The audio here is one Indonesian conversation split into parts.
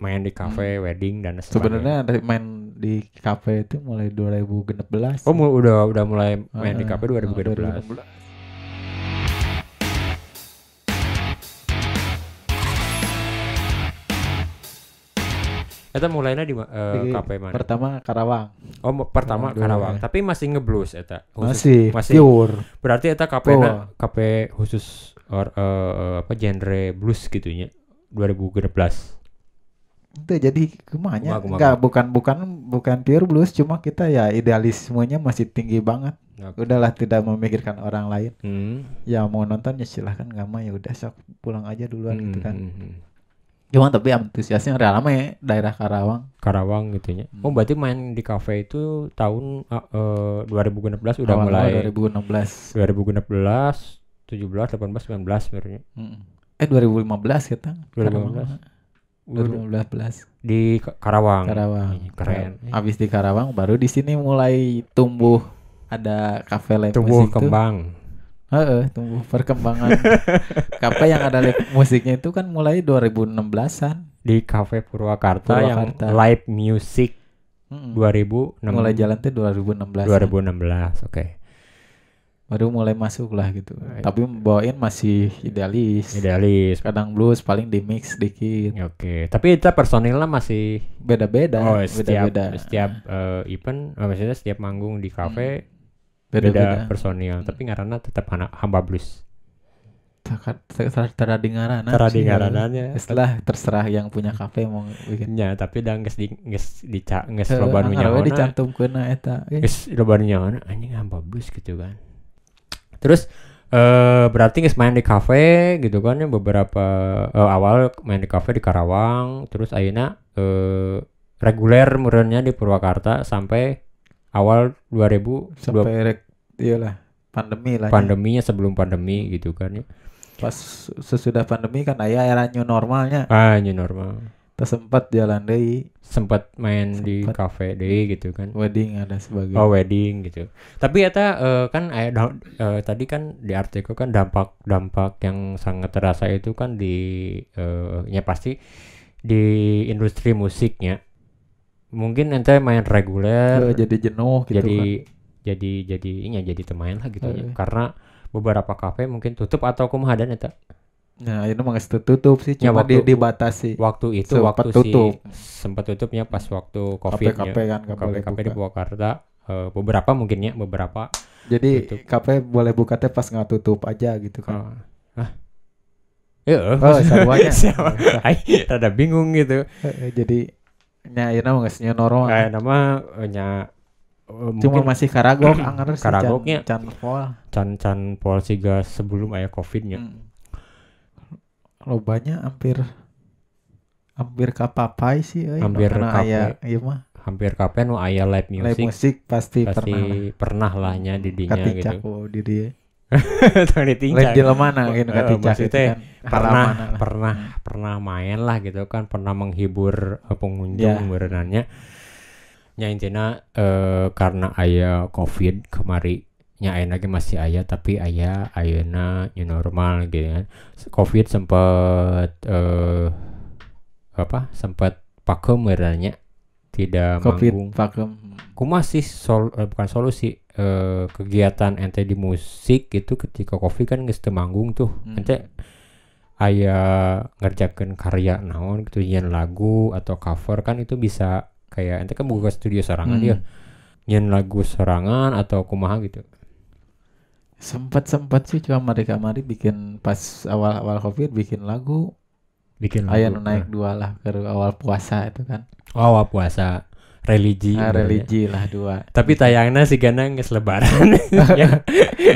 main di kafe, Hmm. wedding dan sebagainya. Sebenarnya dari main di kafe itu mulai 2016. Oh, mu- udah udah mulai main di Ah, kafe ah, 2013. 2016. Eta mulainya di ma- eh, Di kafe mana? Pertama Karawang. oh, mo- pertama Aduh. ya. Karawang, tapi masih ngeblus eta. Khusus- Masih, Oh. masih. pure. Berarti eta kafe Goa. kafe khusus or, eh, apa genre blues gitu gitunya 2013. Itu jadi kumanya. Kumaha, kumaha, Enggak, bukan bukan bukan pure blues, cuma kita ya idealismenya masih tinggi banget. Oke. Udahlah tidak memikirkan orang lain. Hmm. Ya mau nonton ya silahkan nggak mau ya udah sok pulang aja duluan gitu kan. Hmm, hmm, hmm. Cuma tapi antusiasnya udah lama ya daerah Karawang. Karawang gitunya. Oh, Hmm. berarti main di kafe itu tahun eh, eh, 2016 udah mulai Awal-awal 2016. 2016, 17, 18, 19 sebenarnya. Mm-mm. Eh 2015 kita. 2015. Udah 2015 Di Ka- Karawang. Karawang. Ih, Keren. Eh, Habis di Karawang baru di sini mulai tumbuh ada kafe live Tumbuh musik tuh. kembang. Heeh, tumbuh perkembangan. kafe yang ada live musiknya itu kan mulai 2016-an. Di Cafe Purwakarta, Purwakarta. yang live music Mm-mm. 2006 Mulai jalan tuh 2016. 2016. Oke. Baru mulai masuk lah gitu. Tapi bawain masih idealis. Idealis. Kadang blues paling di mix dikit. Oke, tapi itu personilnya masih Beda-beda, oh setiap beda-beda. setiap eh, event, eh, maksudnya setiap manggung di kafe beda Hmm, Beda-beda. Hmm. personil, tapi ngarana tetap anak hamba blues. Teradingaran. Cara di ngarananya Setelah terserah yang punya kafe mau bikin. nya Ya, tapi dah geus di geus dica geus Heeh, loba nu anggar we nyaona. dicantumkeun na eta. Eh, Geus loba nu nyaona anjing hamba blues gitu kan. Terus eh berarti geus main di kafe gitu kan ya beberapa eh, awal main di kafe di Karawang, terus ayeuna eh reguler murenya di Purwakarta sampai awal 2020 sampai rek iyalah pandemi lah ya. pandeminya sebelum pandemi gitu kan ya. pas sesudah pandemi kan aya era new normalnya Ah, new normal. tersempat jalan deui Sempat main di Sempet. kafe deh gitu kan. wedding ada sebagainya Oh wedding gitu. Tapi eta eh, kan aya da- eh, tadi kan di artikel kan dampak dampak yang sangat terasa itu kan di eh, ya pasti di industri musiknya. Mungkin ente main reguler jadi jenuh gitu jadi kan Eh. jadi jadi ini jadi temain lah gitu ya. Heeh. Karena beberapa kafe mungkin tutup atau kumaha dan eta nah ini mah geus tutup sih Ya, cuma waktu- di- dibatasi waktu itu Sempat waktu tutup. si sempat tutupnya pas waktu covid kafe-kafe kan nggak boleh kafe-kafe di buka. Purwakarta eh, beberapa mungkinnya beberapa jadi tutup. kafe boleh buka teh pas nggak tutup aja gitu Oh. kan Hah? Iya, oh semuanya Siapa? Ay, rada bingung gitu. Heeh, Eh, jadi nya ini mah geus new normal Kayak nama eh, nya eh, Oh. mungkin cuma masih karagok anggar sih Karagoknya. can, can poa. can can pol siga sebelum aya covidnya. Mm. Lobanya hampir hampir kapapai sih eh. euy. Hampir Karena kapai. aya ieu ya. Iya mah Hampir kapan nu aya live live music musik pasti pasti, pernah pernah lahnya di dinya gitu. katicak oh di dieu. Tong Lain ditinjak. jelemana gitu Eh, katicak maksudnya itu kan. pernah Halamana lah. pernah pernah main lah gitu kan pernah menghibur eh, pengunjung Ya. berenangnya nya intina eh, karena aya covid kemari nya ayeuna ge masih aya tapi aya ayeuna new normal gitu kan S- covid sempat eh apa sempat pakem berenangnya tidak Covid manggung pakem. kumaha sih sol eh, bukan solusi eh, kegiatan ente di musik itu ketika covid kan geus teu manggung tuh Hmm. ente aya ngerjakan karya naon gitu nyen lagu atau cover kan itu bisa kayak ente kan buka studio sorangan Hmm. ya nyen lagu sorangan atau kumaha gitu Sempat sempat sih cuma mereka mari bikin pas awal-awal Covid bikin lagu. bikin lagu eh. Aya nu naik dua lah ke awal puasa itu kan. Nah. oh puasa religi gitu kan ya. Ah, benernya. religi lah dua. tapi tayangnya sih karena nges lebaran Oh, ya.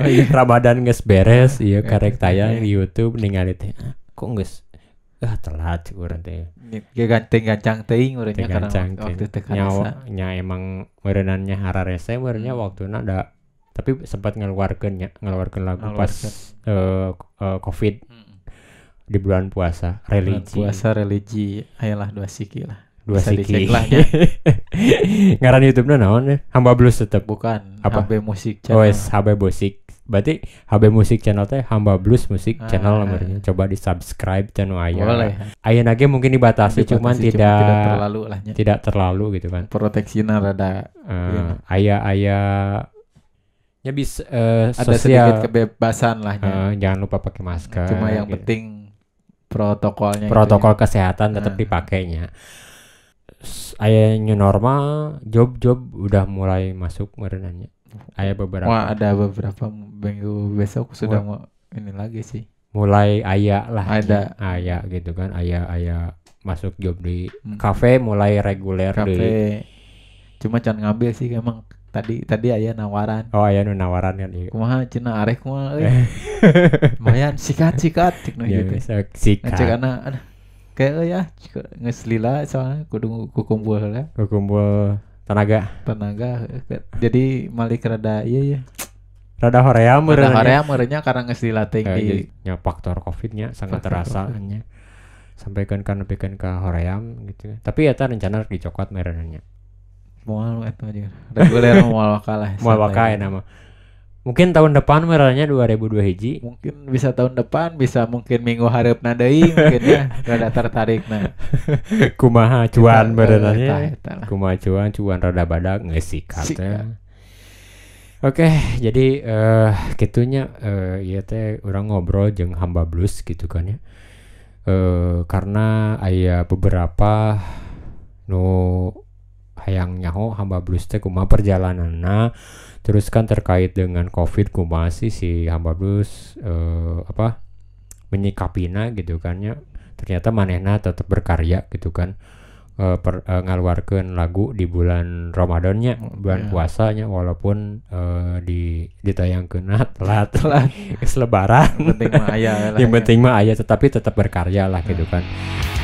iya. Ramadan nges beres iya karek tayang di YouTube ningali teh ah, kok nges ah telat urang teh Ge ganteng-gancang teuing urangnya karena tegancang waktu teh karasa. nyawa nya emang merenannya hararese merenya Hmm. waktunya ada tapi sempat ngeluarkan ya ngeluarkan lagu pas eh, k- eh, covid di bulan puasa Bulan religi puasa religi ayolah dua siki lah dua bisa dicek siki lah ya. ngaran YouTube-nya naon ya hamba blues tetep bukan Apa? Oh, HB musik channel OS HB Bosik berarti HB Musik Channel teh Hamba Blues Musik Ah. Channel namanya. Coba di subscribe dan aya. Boleh. Ayeuna ge mungkin dibatasi, Iya. cuman Dibatasi, tidak tidak tidak terlalu, terlalu lah nya. gitu kan. Proteksinya rada Iya. Eh aya aya ya bis eh, ada sedikit sosial kebebasan lah nya. eh, jangan lupa pakai masker. Cuma yang gitu. penting protokolnya itu ya. protokol kesehatan tetap Heeh. dipakainya. Ayah new normal, job-job udah mulai masuk merenanya. Ayah ya. beberapa Wah, ada beberapa minggu besok sudah mau ini lagi sih. mulai ayah lah Ada. ayah gitu kan ayah ayah masuk job di Hmm. kafe mulai reguler di Kafe. Cuma can ngambil sih emang tadi tadi aya nawaran. oh ayah nu nawaran kan iya. Kumaha cenah arek kumaha eh? euy. Mayan sikat-sikat cik Ya, gitu. bisa sikat Ngecek anak anak kayak euy ya ngeslila soalnya kudu kukumpul lah kukumpul tenaga tenaga heuh. jadi malik rada iya ya rada hoream rada merenanya. area merenya karena ngeslila Eh, ya? jadi, tinggi nya faktor covidnya sangat Faktor terasa COVID. nya. sampaikan kan bikin ke hoream gitu tapi ya rencana dicokot merenanya mual eta aja reguler mual wakalah Moal santai. wakai nama. Mungkin tahun depan merahnya 2002 hiji. mungkin bisa tahun depan bisa mungkin minggu hareup deui mungkin ya rada tertarik nah Kumaha cuan merahnya. eta lah Kumaha cuan cuan rada badak ngesikat Sikat. ya. Oke, jadi eh kitunya eh ieu teh orang ngobrol jeung hamba blues gitu kan ya. Eh karena aya beberapa nu hayang nyaho hamba blues teh kumaha perjalananna terus kan terkait dengan covid kumaha sih si hamba blues eh, apa menyikapina gitu kan ya ternyata manehna tetap berkarya gitu kan Eh, per, eh, ngaluarkeun lagu di bulan Ramadannya Oh, bulan iya. puasanya walaupun eh, di ditayangkeun telat Telat. geus lebaran yang penting mah aya yang lah ya. Nah. penting mah aya tetapi tetap berkarya lah gitu kan